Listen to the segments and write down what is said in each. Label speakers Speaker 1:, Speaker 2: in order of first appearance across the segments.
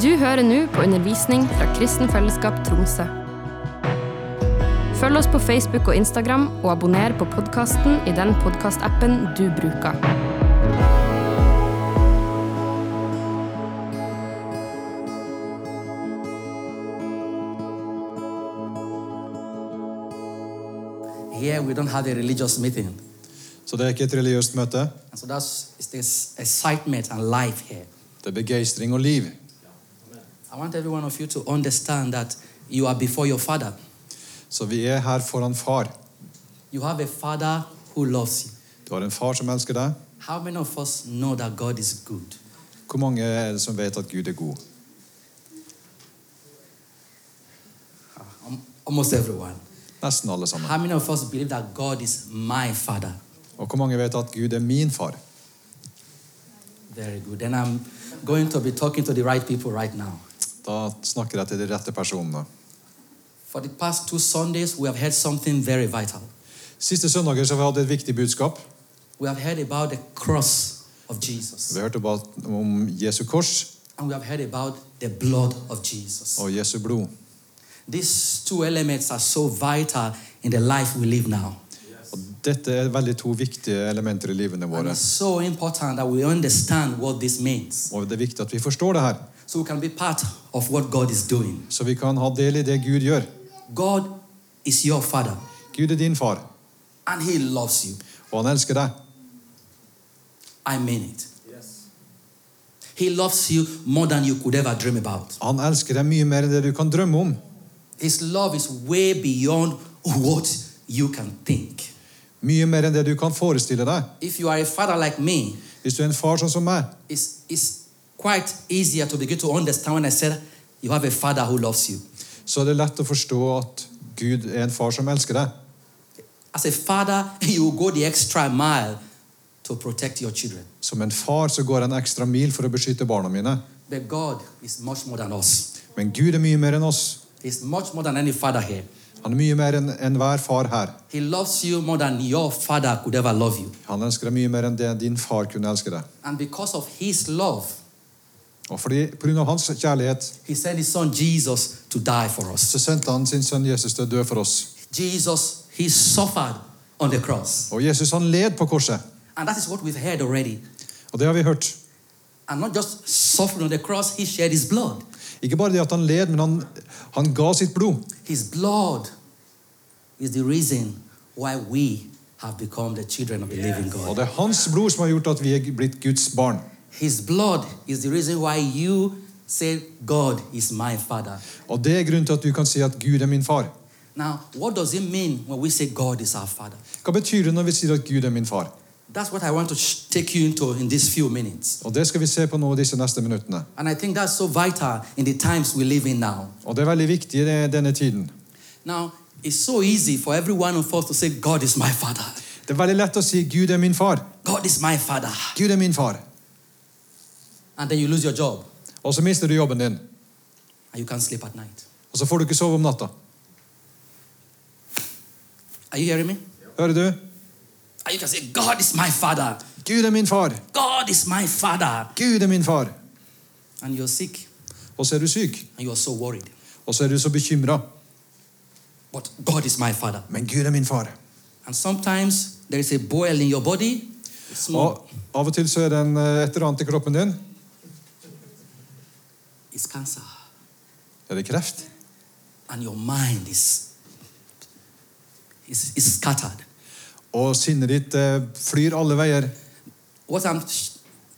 Speaker 1: Du hører nå på undervisning fra Kristen Fellesskap Tromsø. Følg oss på Facebook og Instagram, og abonner på podkasten i den podkastappen du bruker.
Speaker 2: Here we don't have a religious meeting. And
Speaker 3: Så det er ikke et religiøst møte.
Speaker 2: so that's it's this excitement and life here.
Speaker 3: Det er begeistring og liv.
Speaker 2: I want every one of you to understand that you are before your father.
Speaker 3: Så vi er her foran far.
Speaker 2: You have a father who loves you.
Speaker 3: Du har en far som elsker deg.
Speaker 2: How many of us know that God is good?
Speaker 3: Hvor mange er det som vet at Gud er god?
Speaker 2: Al- Almost everyone.
Speaker 3: Nesten alle sammen.
Speaker 2: How many of us believe that God is my father?
Speaker 3: Og hvor mange vet at Gud er min far?
Speaker 2: Very good. And I'm going to be talking to the right people right now.
Speaker 3: Da snakker jeg til de rette personene.
Speaker 2: For the past two Sundays, we have heard something very vital.
Speaker 3: Siste søndager så har vi hatt et viktig budskap.
Speaker 2: We have heard about the cross of Jesus,
Speaker 3: Vi har hørt om- om Jesu kors
Speaker 2: and we have heard about the blood of Jesus.
Speaker 3: og Jesu blod.
Speaker 2: These two elements are so vital in the life we live now.
Speaker 3: Og dette er veldig to viktige elementer i livene
Speaker 2: And
Speaker 3: våre.
Speaker 2: it's so important that we understand what this means
Speaker 3: Og det er viktig at vi forstår det her,
Speaker 2: so we can be part of what God is doing.
Speaker 3: så vi kan ha del i det Gud gjør.
Speaker 2: God is your Father,
Speaker 3: Gud er din far,
Speaker 2: and He loves you.
Speaker 3: og han elsker deg.
Speaker 2: I mean it. He loves you more than you could ever dream about.
Speaker 3: Han elsker deg mye mer enn det du kan drømme om.
Speaker 2: His love is way beyond what you can think.
Speaker 3: Mye mer enn det du kan forestille deg.
Speaker 2: If you are a father like me,
Speaker 3: Hvis du er en far sånn som meg,
Speaker 2: it's, it's quite easier to begin to understand when I said you have a father who loves you.
Speaker 3: så er det lett å forstå at Gud er en far som elsker deg.
Speaker 2: As a father, you will go the extra mile to protect your children.
Speaker 3: Som en far så går jeg en ekstra mil for å beskytte barna mine.
Speaker 2: But God is much more than us.
Speaker 3: Men Gud er mye mer enn oss.
Speaker 2: He's much more than any father here.
Speaker 3: Han er mye mer enn enhver far her.
Speaker 2: He loves you more than your father could ever love you.
Speaker 3: Han elsker deg mye mer enn det din far kunne elske deg.
Speaker 2: And because of his love,
Speaker 3: Og fordi, på grunn av hans kjærlighet
Speaker 2: he sent his son Jesus to die for us.
Speaker 3: så sendte han sin sønn Jesus til å dø for oss.
Speaker 2: Jesus, he suffered on the cross.
Speaker 3: Og Jesus han led på korset.
Speaker 2: And that is what we've heard already.
Speaker 3: Og det har vi hørt.
Speaker 2: And not just suffering on the cross, he shed his blood.
Speaker 3: Ikke bare det at han led, men han, han ga sitt blod.
Speaker 2: His blood is the reason why we have become the children of the living
Speaker 3: Og
Speaker 2: God.
Speaker 3: det er hans blod som har gjort at vi er blitt Guds barn.
Speaker 2: His blood is the reason why you say, God is my Father.
Speaker 3: Og det er grunnen til at du kan si at Gud er min far.
Speaker 2: Now, what does it mean when we say God is our Father?
Speaker 3: Hva betyr det når vi sier at Gud er min far?
Speaker 2: That's what I want to sh- take you into in these few minutes.
Speaker 3: Og det skal vi se på nå disse neste minuttene.
Speaker 2: And I think that's so vital in the times we live in now.
Speaker 3: Og det er veldig viktig i det- denne tiden.
Speaker 2: Now, it's so easy for every one of us to say, God is my Father.
Speaker 3: Det er veldig lett å si 'Gud er min far'.
Speaker 2: God is my Father.
Speaker 3: Gud er min far.
Speaker 2: And then you lose your job
Speaker 3: Og så mister du jobben din.
Speaker 2: and you can't sleep at night.
Speaker 3: Og så får du ikke sove om natta.
Speaker 2: Are you hearing me?
Speaker 3: Hører du?
Speaker 2: And you can say, God is my father.
Speaker 3: Gud er min far.
Speaker 2: God is my father.
Speaker 3: Gud er min far.
Speaker 2: And you're sick
Speaker 3: Og så er du syk.
Speaker 2: and you're so worried.
Speaker 3: Og så er du så bekymra.
Speaker 2: But God is my father.
Speaker 3: Men Gud er min far.
Speaker 2: And sometimes there is a boil in your body. It's small.
Speaker 3: Og av og til så er det en, eh, et eller annet i kroppen din.
Speaker 2: It's cancer.
Speaker 3: Er det kreft?
Speaker 2: And your mind is, is, is scattered.
Speaker 3: Og sinnet ditt eh, flyr alle veier.
Speaker 2: What I'm,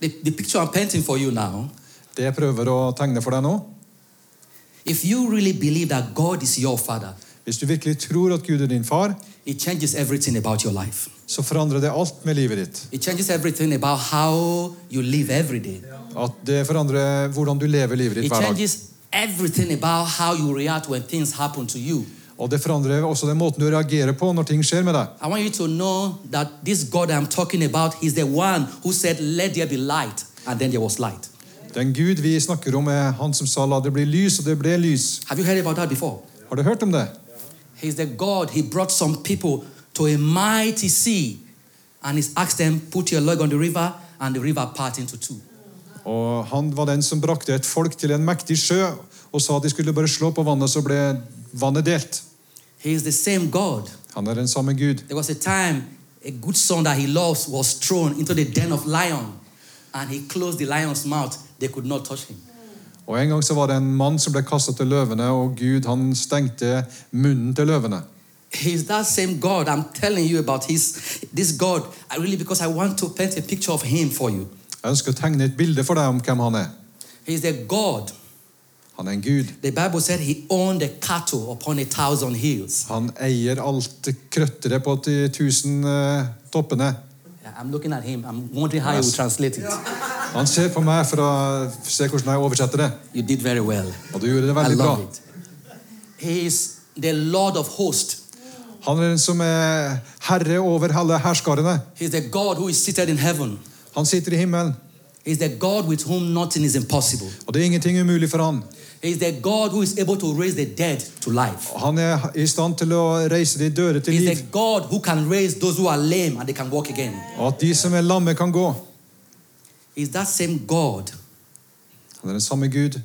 Speaker 2: the, the picture I'm painting for you now,
Speaker 3: Det jeg prøver å tegne for deg nå,
Speaker 2: if you really believe that God is your father,
Speaker 3: Hvis du virkelig tror at Gud er din far,
Speaker 2: it changes everything about your life.
Speaker 3: så forandrer det alt med livet ditt.
Speaker 2: It changes everything about how you live every day.
Speaker 3: At det forandrer hvordan du lever livet ditt
Speaker 2: It
Speaker 3: hver dag.
Speaker 2: changes everything about how you react when things happen to you.
Speaker 3: Og det forandrer også den måten du reagerer på når ting skjer med deg.
Speaker 2: I want you to know that this God I'm talking about, He's the one who said, Let there be light. And then there was light.
Speaker 3: Den Gud vi snakker om, er han som sa la det bli lys, og det ble lys.
Speaker 2: Have you heard about that before?
Speaker 3: Har du hørt om det?
Speaker 2: He's the God, He brought some people to a mighty sea and He's asked them, Put your leg on the river, and the river part into two.
Speaker 3: Og han var den som brakte et folk til en mektig sjø og sa at de skulle bare slå på vannet, så ble vannet delt.
Speaker 2: He is the same God.
Speaker 3: Han er den samme Gud.
Speaker 2: There was a time a good son that he loves was thrown into the den of lion, and he closed the lion's mouth. They could not touch him.
Speaker 3: Og En gang så var det en mann som ble kastet til løvene, og Gud han stengte munnen til løvene.
Speaker 2: He's that same God I'm telling you about. His this God. I really because I want to paint a picture of him for you.
Speaker 3: Jeg ønsker å tegne et bilde for deg om hvem han er.
Speaker 2: He's the God.
Speaker 3: Han er en gud.
Speaker 2: The Bible said he owned the cattle upon a thousand hills.
Speaker 3: Han eier alt krøtteret på de tusen eh, toppene.
Speaker 2: I'm looking at him. I'm wondering how he will
Speaker 3: Yes.
Speaker 2: translate it.
Speaker 3: Han ser på meg for å se hvordan jeg oversetter det.
Speaker 2: You did very well.
Speaker 3: Og du gjorde det
Speaker 2: I
Speaker 3: veldig bra.
Speaker 2: love it. He is the Lord of hosts.
Speaker 3: Han er den som er herre over alle herskarene.
Speaker 2: He's the God who is seated in heaven.
Speaker 3: Han sitter i himmelen,
Speaker 2: He's the God with whom nothing is impossible.
Speaker 3: og det er ingenting umulig for han.
Speaker 2: He's the God who is able to raise the dead to life.
Speaker 3: Han er i stand til å reise de døde til
Speaker 2: He's
Speaker 3: liv,
Speaker 2: the God who can raise those who are lame and they can walk again.
Speaker 3: og at de som er lamme, kan gå.
Speaker 2: He's that same God.
Speaker 3: Han er den samme Gud.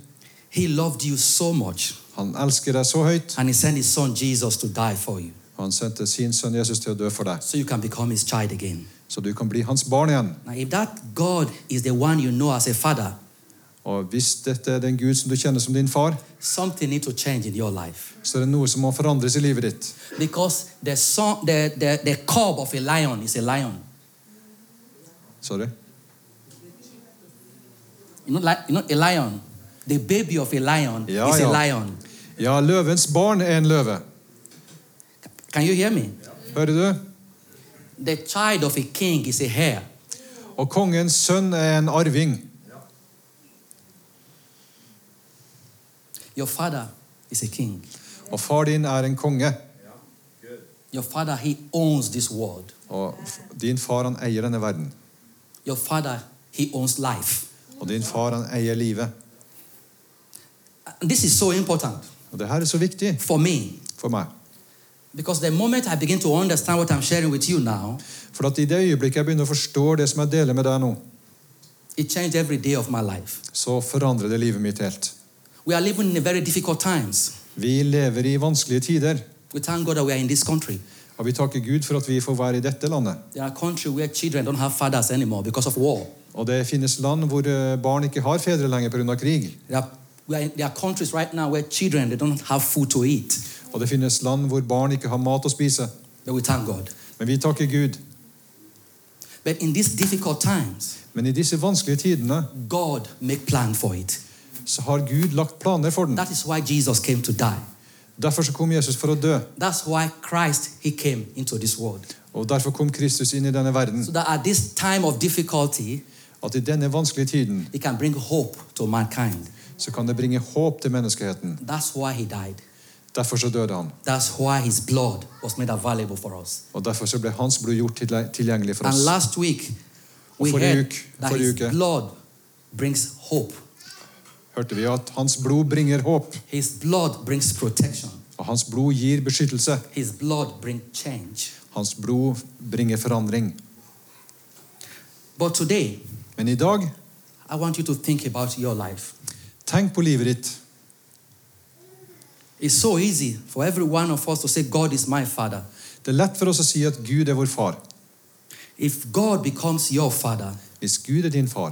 Speaker 2: He loved you so much
Speaker 3: Han elsker deg så høyt,
Speaker 2: and he sent his son Jesus to die for you
Speaker 3: og han sendte sin sønn Jesus til å dø for deg,
Speaker 2: so you can become his child again.
Speaker 3: så du kan bli hans barn igjen.
Speaker 2: Now, if that God is the one you know as a father,
Speaker 3: Og hvis dette er den Gud som du kjenner som din far,
Speaker 2: something needs to change in your life.
Speaker 3: så er det noe som må forandres i livet ditt.
Speaker 2: Because the, son, the, the, the cub of a lion is a lion.
Speaker 3: Sorry.
Speaker 2: You know, like, you know a lion. The baby of a lion
Speaker 3: Yeah,
Speaker 2: is
Speaker 3: yeah.
Speaker 2: a lion.
Speaker 3: Ja, løvens barn er en løve.
Speaker 2: Can you hear me?
Speaker 3: Hører du?
Speaker 2: The child of a king is a hare.
Speaker 3: Og kongens sønn er en arving.
Speaker 2: Your father is a king.
Speaker 3: Og far din er en konge.
Speaker 2: Your father, he owns this world.
Speaker 3: Og f- din far, han eier denne verden.
Speaker 2: Your father, he owns life.
Speaker 3: Og din far, han eier livet.
Speaker 2: And this is so important
Speaker 3: Og det her er så viktig
Speaker 2: for me
Speaker 3: for meg.
Speaker 2: because the moment I begin to understand what I'm sharing with you now,
Speaker 3: For at i det øyeblikket jeg begynner å forstå det som jeg deler med deg nå,
Speaker 2: it changed every day of my life.
Speaker 3: så forandrer det livet mitt helt.
Speaker 2: We are living in very difficult times.
Speaker 3: Vi lever i vanskelige tider,
Speaker 2: We thank God that we are in this country.
Speaker 3: og vi takker Gud for at vi får være i dette landet.
Speaker 2: There are countries where children don't have fathers anymore because of war.
Speaker 3: Og det finnes land hvor eh, barn ikke har fedre lenger pga. krig.
Speaker 2: There are, we are in- there are countries right now where children they don't have food to eat.
Speaker 3: Og det finnes land hvor barn ikke har mat å spise.
Speaker 2: But we thank God.
Speaker 3: Men vi takker Gud.
Speaker 2: But in these difficult times,
Speaker 3: Men i disse vanskelige tidene
Speaker 2: God make plan for it.
Speaker 3: så har Gud lagt planer for den.
Speaker 2: That is why Jesus came to die.
Speaker 3: Derfor så kom Jesus for å dø,
Speaker 2: That's why Christ he came into this world.
Speaker 3: og derfor kom Kristus inn i denne verden.
Speaker 2: So that at this time of difficulty,
Speaker 3: At i denne vanskelige tiden
Speaker 2: it can bring hope to mankind.
Speaker 3: så kan det bringe håp til menneskeheten.
Speaker 2: That's why he died.
Speaker 3: Derfor så døde han,
Speaker 2: That's why his blood was made available for us.
Speaker 3: og derfor så ble hans blod gjort til- tilgjengelig for
Speaker 2: And
Speaker 3: oss.
Speaker 2: last week we
Speaker 3: Forrige
Speaker 2: heard
Speaker 3: uke-
Speaker 2: that
Speaker 3: forrige
Speaker 2: his
Speaker 3: uke.
Speaker 2: blood brings hope.
Speaker 3: Hørte vi at hans blod bringer håp,
Speaker 2: His blood brings protection.
Speaker 3: og hans blod gir beskyttelse.
Speaker 2: His blood brings change.
Speaker 3: Hans blod bringer forandring.
Speaker 2: But today,
Speaker 3: Men i dag,
Speaker 2: I want you to think about your life.
Speaker 3: tenk på livet ditt.
Speaker 2: It's so easy for every one of us to say, God is my father.
Speaker 3: Det er lett for oss å si at Gud er vår far.
Speaker 2: If God becomes your father,
Speaker 3: Hvis Gud er din far,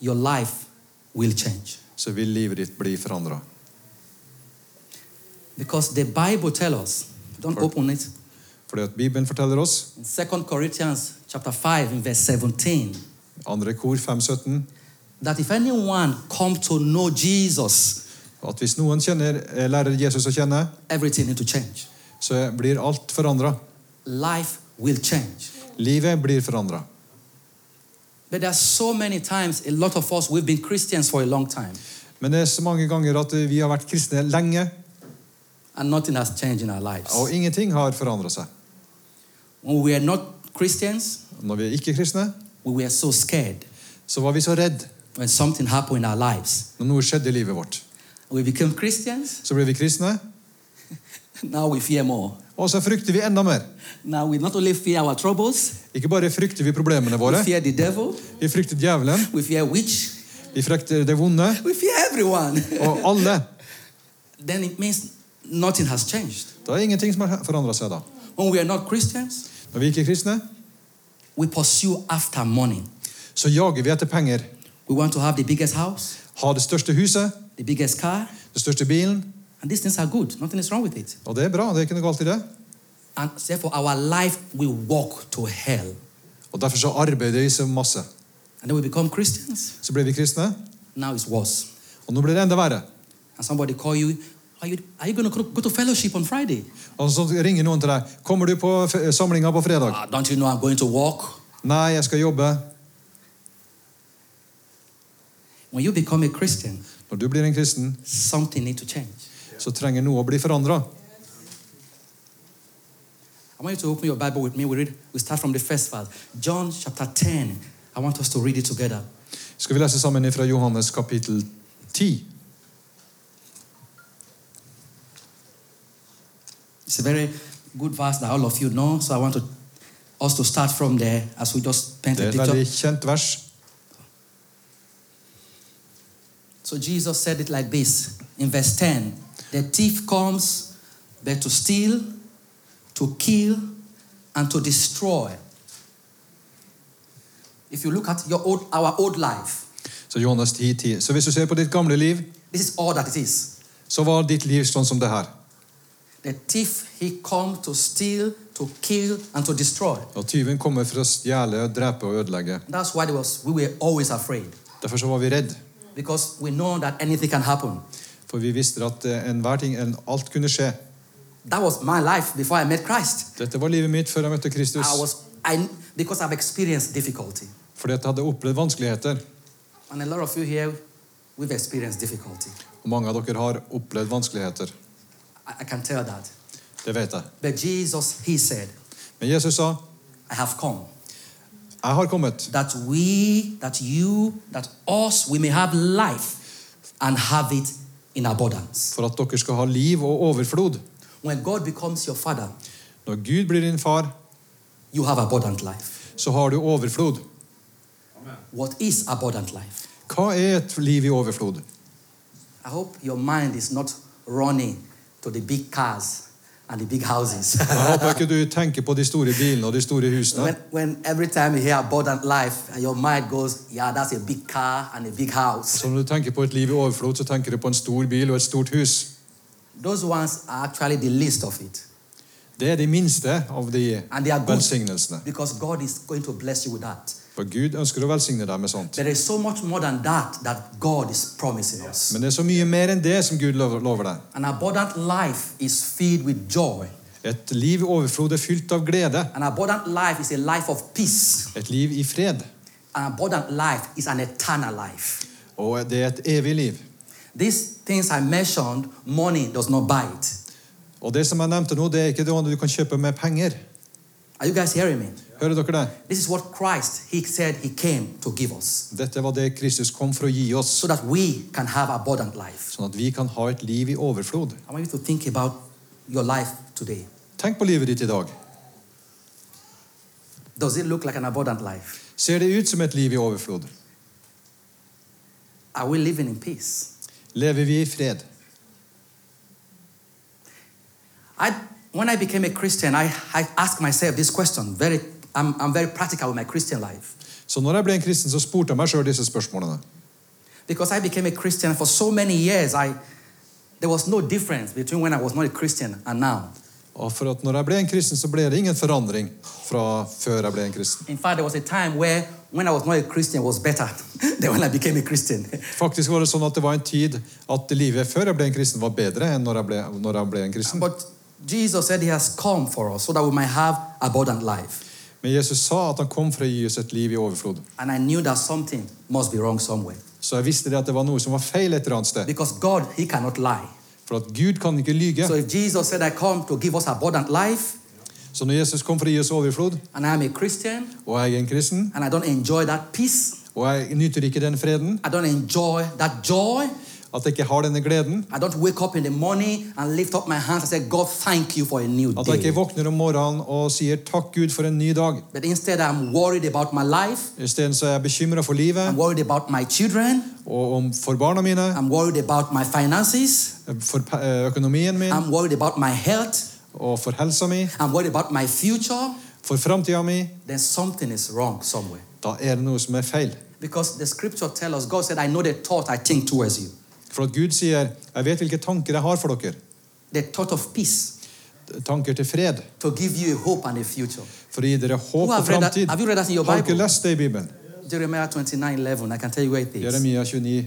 Speaker 2: your life will change.
Speaker 3: så vil livet ditt bli forandra.
Speaker 2: Because the Bible tells us, don't
Speaker 3: Correct.
Speaker 2: open it,
Speaker 3: Fordi at Bibelen forteller oss,
Speaker 2: in 2 Corinthians chapter 5, in verse 17,
Speaker 3: andre kor 517,
Speaker 2: that if anyone come to know Jesus,
Speaker 3: at hvis noen kjenner, eh, lærer Jesus å kjenne,
Speaker 2: everything need to change.
Speaker 3: så blir alt forandra.
Speaker 2: Life will change.
Speaker 3: Livet blir forandra.
Speaker 2: But there are so many times, a lot of us, we've been Christians for a long time,
Speaker 3: Men det er så mange ganger at eh, vi har vært kristne lenge,
Speaker 2: and nothing has changed in our lives.
Speaker 3: og ingenting har forandra seg.
Speaker 2: When we were not Christians,
Speaker 3: Når vi er ikke kristne,
Speaker 2: we were so scared
Speaker 3: så var vi så redd
Speaker 2: when something happened in our lives.
Speaker 3: når noe skjedde i livet vårt.
Speaker 2: We became Christians,
Speaker 3: Så ble vi kristne,
Speaker 2: now we fear more.
Speaker 3: og så frykter vi enda mer.
Speaker 2: Now we not only fear our troubles,
Speaker 3: Ikke bare frykter vi problemene våre,
Speaker 2: we fear the devil,
Speaker 3: vi frykter djevelen,
Speaker 2: we fear witch,
Speaker 3: Vi frykter det vonde
Speaker 2: We fear everyone.
Speaker 3: og alle.
Speaker 2: then it means nothing has changed.
Speaker 3: Da er ingenting som har forandra seg da.
Speaker 2: When we are not Christians,
Speaker 3: Når vi ikke er kristne,
Speaker 2: we pursue after money.
Speaker 3: så jager vi etter penger.
Speaker 2: We want to have the biggest house,
Speaker 3: Ha det største huset,
Speaker 2: the biggest car,
Speaker 3: den største bilen.
Speaker 2: and these things are good. Nothing is wrong with it.
Speaker 3: Og det er bra. det er ikke noe galt i det.
Speaker 2: And therefore, our life will walk to hell.
Speaker 3: Og Derfor så arbeider vi så masse.
Speaker 2: And then we become Christians.
Speaker 3: Så ble vi kristne,
Speaker 2: Now it's worse.
Speaker 3: og nå blir det enda verre.
Speaker 2: And somebody call you, are you, are you going to go to fellowship on Friday?
Speaker 3: Og Så ringer noen til deg. 'Kommer du på f- samlinga på fredag?'
Speaker 2: Ah, don't you know I'm going to walk?
Speaker 3: 'Nei, jeg skal jobbe.'
Speaker 2: When you become a Christian,
Speaker 3: Når du blir en kristen,
Speaker 2: something need to change.
Speaker 3: så trenger noe å bli forandra.
Speaker 2: I want you to open your Bible with me. We read. We start from the first verse, John chapter ten. I want us to read it together.
Speaker 3: Skal vi lese sammen fra Johannes kapittel 10?
Speaker 2: It's a very good verse that all of you know. So I want to, us to start from there as we just paint
Speaker 3: Det
Speaker 2: a
Speaker 3: er et
Speaker 2: picture.
Speaker 3: veldig kjent vers.
Speaker 2: So Jesus said it like this in verse ten: The thief comes, but to steal, to kill, and to destroy. If you look at your old, our old life,
Speaker 3: Så Johannes 10, 10. Så hvis du ser på ditt gamle liv,
Speaker 2: this is all that it is.
Speaker 3: så var ditt liv sånn som det her.
Speaker 2: The thief, he come to steal, to kill, and to destroy.
Speaker 3: Og tyven kommer for å stjele, drepe og ødelegge.
Speaker 2: That's why there was, we were always afraid
Speaker 3: Derfor så var vi redd.
Speaker 2: because we know that anything can happen.
Speaker 3: For vi visste at eh, enhver ting, en- alt kunne skje.
Speaker 2: That was my life before I met Christ.
Speaker 3: Dette var livet mitt før jeg møtte Kristus.
Speaker 2: I was, I, because I've experienced difficulty.
Speaker 3: Fordi at jeg hadde opplevd vanskeligheter.
Speaker 2: And a lot of you here, we've experienced difficulty.
Speaker 3: Og mange av dere har oppleved vanskeligheter.
Speaker 2: I, I can tell that.
Speaker 3: Det vet jeg.
Speaker 2: But Jesus, he said,
Speaker 3: Men Jesus sa,
Speaker 2: I have come
Speaker 3: jeg har kommet
Speaker 2: that we, that you, that us, we may have life and have it in abundance.
Speaker 3: for at dere skal ha liv og overflod.
Speaker 2: When God becomes your father,
Speaker 3: Når Gud blir din far,
Speaker 2: you have abundant life.
Speaker 3: så har du overflod.
Speaker 2: What is abundant life?
Speaker 3: Hva er et liv i overflod?
Speaker 2: I hope your mind is not running to the big cars and the big houses.
Speaker 3: Jeg håper ikke du tenker på de store bilene og de store husene.
Speaker 2: when, when every time you hear abundant life, your mind goes, yeah, that's a big car and a big house.
Speaker 3: Så når du tenker på et liv i overflod, så tenker du på en stor bil og et stort hus.
Speaker 2: Those ones are actually the least of it.
Speaker 3: Det er de minste av de
Speaker 2: And they are good
Speaker 3: velsignelsene.
Speaker 2: because God is going to bless you with that.
Speaker 3: For Gud ønsker å velsigne deg med sånt.
Speaker 2: There is so much more than that that God is promising us.
Speaker 3: Men det er så mye mer enn det som Gud lover lover deg.
Speaker 2: An abundant life is filled with joy.
Speaker 3: Et liv i overflod er fylt av glede.
Speaker 2: An abundant life is a life of peace.
Speaker 3: Et liv i fred.
Speaker 2: An abundant life is an eternal life.
Speaker 3: Og det er et evig liv.
Speaker 2: These things I mentioned, money does not buy it.
Speaker 3: Og det som jeg nevnte nå, det er ikke det du kan kjøpe med penger.
Speaker 2: Are you guys hearing me?
Speaker 3: Hører dere det?
Speaker 2: This is what Christ, He said He came to give us
Speaker 3: Dette var det Kristus kom for å gi oss,
Speaker 2: so that we can have abundant life.
Speaker 3: sånn at vi kan ha et liv i overflod.
Speaker 2: I want you to think about your life today.
Speaker 3: Tenk på livet ditt i dag.
Speaker 2: Does it look like an abundant life?
Speaker 3: Ser det ut som et liv i overflod?
Speaker 2: Are we living in peace?
Speaker 3: Lever vi i fred?
Speaker 2: I, when I became a Christian, I, I asked myself this question. Very, I'm, I'm very practical with my Christian life
Speaker 3: Så når jeg ble en kristen, så spurte jeg meg sjøl disse spørsmålene.
Speaker 2: because I became a Christian for so many years. I, there was no difference between when I was not a Christian and now.
Speaker 3: Og for at når jeg ble en kristen, så ble det ingen forandring fra før jeg ble en kristen.
Speaker 2: In fact, there was a time where when I was not a Christian was better than when I became a Christian.
Speaker 3: Faktisk var det sånn at det var en tid at livet før jeg ble en kristen, var bedre enn når jeg ble, når jeg ble en kristen.
Speaker 2: But Jesus said he has come for us so that we might have abundant life.
Speaker 3: Men Jesus sa at han kom for å gi oss et liv i overflod.
Speaker 2: And I knew that something must be wrong somewhere.
Speaker 3: Så jeg visste det at det var noe som var feil et eller annet sted.
Speaker 2: Because God, he cannot lie.
Speaker 3: For at Gud kan ikke lyge.
Speaker 2: So if Jesus said, I come to give us abundant life,
Speaker 3: Så når Jesus kom for å gi oss overflod,
Speaker 2: and I am a Christian,
Speaker 3: og jeg er en kristen,
Speaker 2: and I don't enjoy that peace,
Speaker 3: og jeg nyter ikke den freden,
Speaker 2: I don't enjoy that joy,
Speaker 3: at jeg ikke har denne gleden,
Speaker 2: I don't wake up in the morning and lift up my hands and say, God, thank you for a new
Speaker 3: at jeg
Speaker 2: day.
Speaker 3: ikke våkner om morgenen og sier 'takk Gud for en ny dag'.
Speaker 2: But instead, I'm worried about my life,
Speaker 3: Isteden så er jeg bekymra for livet
Speaker 2: I'm worried about my children,
Speaker 3: og om for barna mine,
Speaker 2: I'm worried about my finances.
Speaker 3: for pe- eh, økonomien min,
Speaker 2: I'm worried about my health.
Speaker 3: og for helsa mi,
Speaker 2: I'm worried about my future.
Speaker 3: for framtida mi,
Speaker 2: Then something is wrong somewhere.
Speaker 3: da er det noe som er feil.
Speaker 2: Because the scripture tells us, God said, I know the thought I think towards you.
Speaker 3: For at Gud sier, 'Jeg vet hvilke tanker jeg har for dere'.
Speaker 2: The thought of peace
Speaker 3: Tanker til fred.
Speaker 2: to give you a hope and a future.
Speaker 3: For å gi dere håp
Speaker 2: Who
Speaker 3: og
Speaker 2: have read that-
Speaker 3: framtid.
Speaker 2: have you read that in your
Speaker 3: Har dere
Speaker 2: Bible?
Speaker 3: lest det i Bibelen?
Speaker 2: Jeremiah 29 11. I can tell you where it is.
Speaker 3: Jeremia 29,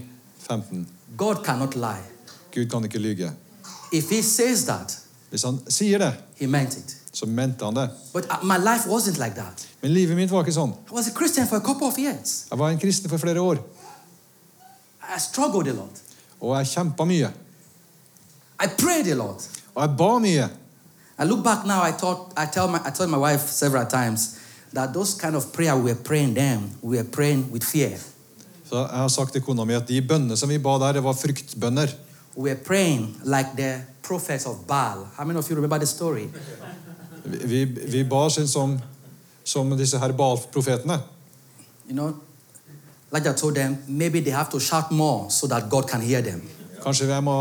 Speaker 3: 15.
Speaker 2: God cannot lie.
Speaker 3: Gud kan ikke lyge.
Speaker 2: If He says that,
Speaker 3: Hvis han sier det,
Speaker 2: He meant it.
Speaker 3: så mente han det.
Speaker 2: But uh, my life wasn't like that.
Speaker 3: Men livet mitt var ikke sånn.
Speaker 2: I was a Christian for a couple of years.
Speaker 3: Jeg var en kristen for flere år,
Speaker 2: I struggled a lot.
Speaker 3: og jeg kjempa mye.
Speaker 2: I prayed a lot.
Speaker 3: Og jeg ba mye.
Speaker 2: I look back now, I thought I tell my I told my wife several times that those kind of prayer we were praying then, we were praying with fear.
Speaker 3: Så jeg har sagt til kona mi at de bønnene som vi ba der, det var fryktbønner.
Speaker 2: We were praying like the prophets of Baal. How many of you remember the story?
Speaker 3: Vi, vi, vi ba sånn som, som disse her Baal-profetene.
Speaker 2: You know? Like I told them, maybe they have to shout more so that God can hear them.
Speaker 3: Kanskje jeg må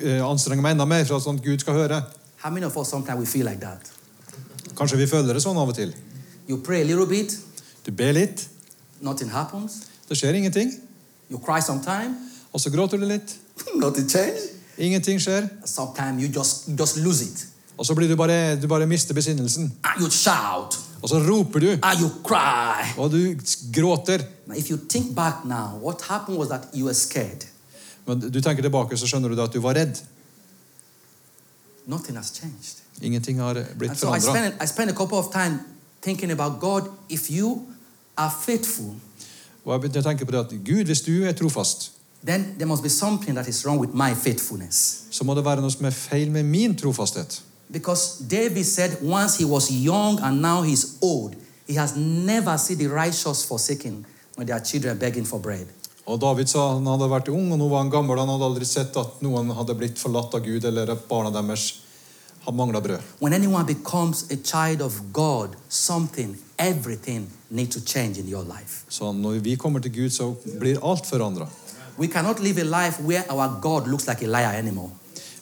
Speaker 3: eh, anstrenge meg enda mer for at sånn at Gud skal høre.
Speaker 2: How many of us sometimes we feel like that?
Speaker 3: Kanskje vi føler det sånn av og til.
Speaker 2: You pray a little bit,
Speaker 3: Du ber litt,
Speaker 2: nothing happens.
Speaker 3: det skjer ingenting.
Speaker 2: You cry sometime,
Speaker 3: Og så gråter du litt.
Speaker 2: nothing changes.
Speaker 3: Ingenting skjer.
Speaker 2: Sometimes you just you just lose it.
Speaker 3: Og så blir du bare, du bare mister besinnelsen.
Speaker 2: And you shout,
Speaker 3: Og så roper du,
Speaker 2: and you cry.
Speaker 3: og du gråter.
Speaker 2: Now, if you think back now, what happened was that you were scared.
Speaker 3: Men du tenker tilbake, så skjønner du da at du var redd.
Speaker 2: Nothing has changed.
Speaker 3: Ingenting har blitt
Speaker 2: And so I
Speaker 3: forandra.
Speaker 2: spent, I spent a couple of time thinking about God, if you are faithful,
Speaker 3: Og jeg begynte å tenke på det at Gud, hvis du er trofast,
Speaker 2: then there must be something that is wrong with my faithfulness.
Speaker 3: så må det være noe som er feil med min trofasthet.
Speaker 2: Because David said once he was young and now he's old, he has never seen the righteous forsaken when their children begging for bread.
Speaker 3: Og David sa han hadde vært ung, og nå var han gammel. Han hadde aldri sett at noen hadde blitt forlatt av Gud, eller at barna deres hadde mangla brød.
Speaker 2: When anyone becomes a child of God, something, everything needs to change in your life.
Speaker 3: Så når vi kommer til Gud, så blir alt forandra.
Speaker 2: We cannot live a life where our God looks like a liar anymore.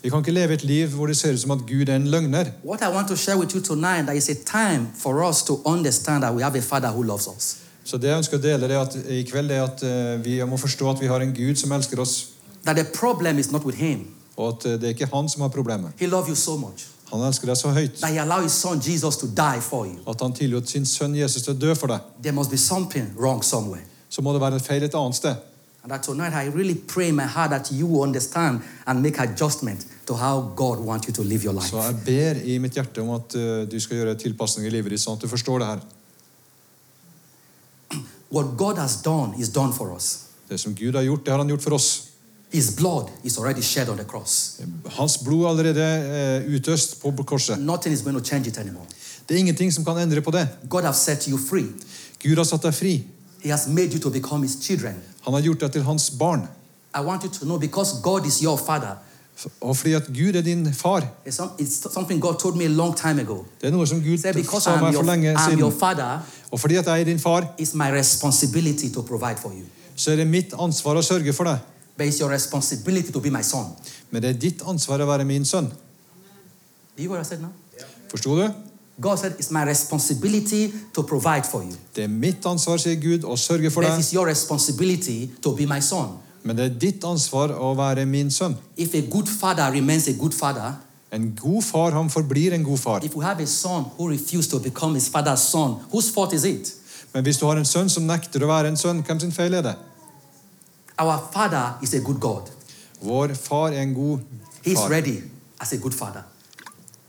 Speaker 3: Vi kan ikke leve et liv hvor det ser ut som at Gud er en løgner.
Speaker 2: What I want to share with you tonight that is a time for us to understand that we have a Father who loves us.
Speaker 3: Så det jeg ønsker å dele det at, i kveld, er at eh, vi må forstå at vi har en Gud som elsker oss,
Speaker 2: That the problem is not with Him.
Speaker 3: og at eh, det er ikke han som har problemet.
Speaker 2: He loves you so much
Speaker 3: Han elsker deg så høyt
Speaker 2: that He allowed His Son Jesus to die for you.
Speaker 3: at han tillot sin sønn Jesus til å dø for deg.
Speaker 2: There must be something wrong somewhere.
Speaker 3: Så må det være feil et annet sted.
Speaker 2: And that tonight I really pray in my heart that you will understand and make adjustment to how God wants you to live your life.
Speaker 3: Så jeg ber i mitt hjerte om at eh, du skal gjøre tilpasninger i livet ditt, sånn at du forstår det her.
Speaker 2: What God has done is done for us.
Speaker 3: Det som Gud har gjort, det har han gjort for oss.
Speaker 2: His blood is already shed on the cross.
Speaker 3: Hans blod er allerede eh, utøst på korset.
Speaker 2: Nothing is going to change it anymore.
Speaker 3: Det er ingenting som kan endre på det.
Speaker 2: God has set you free.
Speaker 3: Gud har satt deg fri.
Speaker 2: He has made you to become his children.
Speaker 3: Han har gjort deg til hans barn.
Speaker 2: I want you to know because God is your father.
Speaker 3: Og fordi at Gud er din far.
Speaker 2: It's, some, it's something God told me a long time ago.
Speaker 3: Det er noe som
Speaker 2: He
Speaker 3: Gud
Speaker 2: said, Because
Speaker 3: sa
Speaker 2: I'm
Speaker 3: meg
Speaker 2: your,
Speaker 3: for lenge
Speaker 2: I'm your
Speaker 3: siden.
Speaker 2: father,
Speaker 3: Og fordi at jeg er din far,
Speaker 2: it's my responsibility to provide for you.
Speaker 3: så er det mitt ansvar å sørge for deg.
Speaker 2: But it's your responsibility to be my son.
Speaker 3: Men det er ditt ansvar å være min sønn.
Speaker 2: Do you hear what I said now?
Speaker 3: Forsto du?
Speaker 2: God said, It's my responsibility to provide for you.
Speaker 3: Det er mitt ansvar, sier Gud, å sørge for
Speaker 2: But
Speaker 3: deg.
Speaker 2: it's your responsibility to be my son.
Speaker 3: Men det er ditt ansvar å være min sønn.
Speaker 2: If a good father remains a good father,
Speaker 3: En god far, han forblir en god far.
Speaker 2: if we have a son who refuses to become his father's son, whose fault is it?
Speaker 3: Men hvis du har en sønn som nekter å være en sønn, hvem sin feil er det?
Speaker 2: Our father is a good God.
Speaker 3: Vår far er en god
Speaker 2: He's
Speaker 3: far.
Speaker 2: ready as a good father.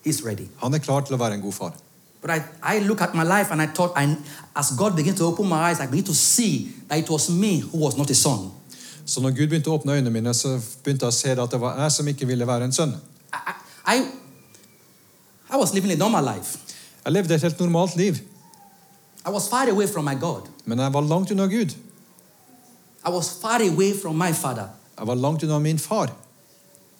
Speaker 2: He's ready.
Speaker 3: Han er klar til å være en god far.
Speaker 2: But I, I look at my life and I thought, I, as God began to open my eyes, I began to see that it was me who was not a son.
Speaker 3: Så når Gud begynte å åpne øynene mine, så begynte jeg å se det at det var jeg som ikke ville være en sønn.
Speaker 2: I, I, I- I was living a normal life.
Speaker 3: Jeg levde et helt normalt liv,
Speaker 2: I was far away from my God.
Speaker 3: men jeg var langt unna Gud.
Speaker 2: I was far away from my father.
Speaker 3: Jeg var langt unna min far.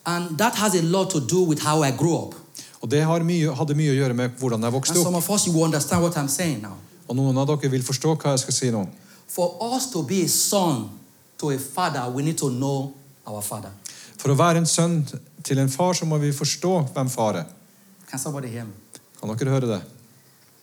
Speaker 2: And that has a lot to do with how I grew up.
Speaker 3: Og det har mye, hadde mye å gjøre med hvordan jeg
Speaker 2: And
Speaker 3: vokste
Speaker 2: some
Speaker 3: opp.
Speaker 2: of us, you will understand what I'm saying now.
Speaker 3: Og noen av dere vil forstå hva jeg skal si nå.
Speaker 2: For us to be a son, to a father, we need to know our father.
Speaker 3: For å være en sønn til en far, så må vi forstå hvem far er.
Speaker 2: Can somebody hear me?
Speaker 3: Kan dere høre det?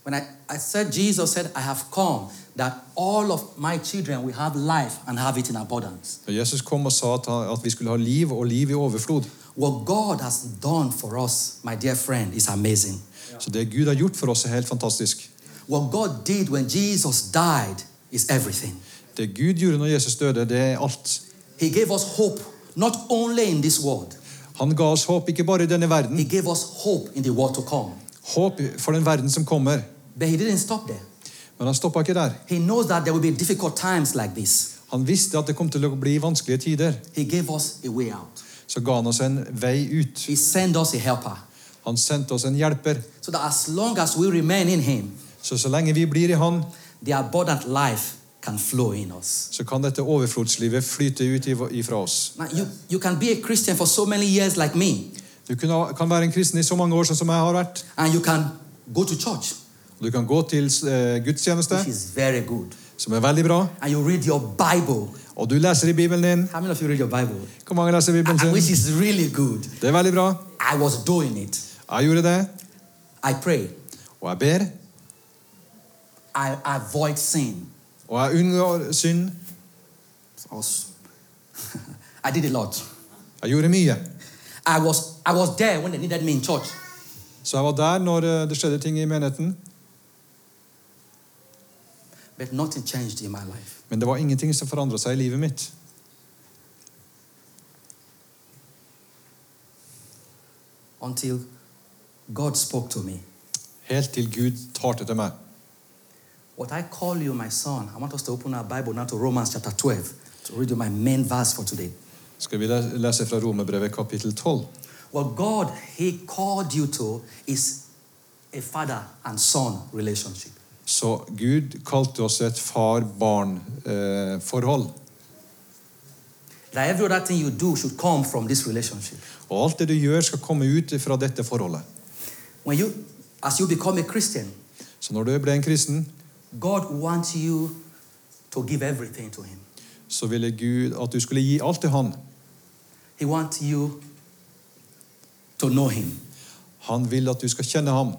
Speaker 2: When I, I said, Jesus said, I have come that all of my children will have life and have it in abundance.
Speaker 3: Når Jesus kom og sa at, han, at vi skulle ha liv, og liv i overflod.
Speaker 2: What God has done for us, my dear friend, is amazing.
Speaker 3: Så det Gud har gjort for oss, er helt fantastisk.
Speaker 2: What God did when Jesus died is everything.
Speaker 3: Det Gud gjorde når Jesus døde, det er alt.
Speaker 2: He gave us hope, not only in this world,
Speaker 3: Han ga oss håp, ikke bare i denne verden.
Speaker 2: He gave us hope in the world to come.
Speaker 3: Håp for den verden som kommer.
Speaker 2: But He didn't stop there.
Speaker 3: Men han stoppa ikke der.
Speaker 2: He knows that there will be difficult times like this.
Speaker 3: Han visste at det kom til å bli vanskelige tider.
Speaker 2: He gave us a way out.
Speaker 3: Så ga han oss en vei ut.
Speaker 2: He sent us a helper.
Speaker 3: Han sendte oss en hjelper.
Speaker 2: So that as long as we remain in Him,
Speaker 3: Så så lenge vi blir i Han,
Speaker 2: the abundant life can flow in us.
Speaker 3: så kan dette overflodslivet flyte ut iv- ifra oss.
Speaker 2: Now, you, you can be a Christian for so many years like me,
Speaker 3: Du kan ha- kan være en kristen i så mange år sånn som jeg har vært.
Speaker 2: and you can go to church,
Speaker 3: Du kan gå til eh,
Speaker 2: which
Speaker 3: gudstjeneste,
Speaker 2: is very good,
Speaker 3: som er veldig bra,
Speaker 2: and you read your Bible.
Speaker 3: og du leser i Bibelen din.
Speaker 2: How many of you read your Bible?
Speaker 3: Hvor mange leser Bibelen
Speaker 2: And which
Speaker 3: sin?
Speaker 2: is really good.
Speaker 3: Det er veldig bra.
Speaker 2: I was doing it.
Speaker 3: Jeg gjorde det,
Speaker 2: I pray.
Speaker 3: og jeg ber,
Speaker 2: I avoid sin.
Speaker 3: og jeg unngår synd.
Speaker 2: I was- I did a lot.
Speaker 3: Jeg gjorde mye.
Speaker 2: I was I was there when they needed me in church.
Speaker 3: Så jeg var der når eh, det skjedde ting i menigheten,
Speaker 2: But nothing changed in my life.
Speaker 3: men det var ingenting som forandra seg i livet mitt.
Speaker 2: Until God spoke to me.
Speaker 3: Helt til Gud talte til meg.
Speaker 2: What I call you, my son, I want us to open our Bible now to Romans chapter 12 to read you my main verse for today.
Speaker 3: Skal vi le- lese fra Romerbrevet kapittel 12?
Speaker 2: What God He called you to is a father and son relationship.
Speaker 3: Så Gud kalte oss et eh, far-barn-forhold.
Speaker 2: That every other thing you do should come from this relationship.
Speaker 3: Og alt det du gjør, skal komme ut fra dette forholdet.
Speaker 2: When you as you become a Christian,
Speaker 3: Så når du ble en kristen,
Speaker 2: God wants you to give everything to Him.
Speaker 3: så ville Gud at du skulle gi alt til Han.
Speaker 2: He wants you to know Him.
Speaker 3: Han vil at du skal kjenne Ham.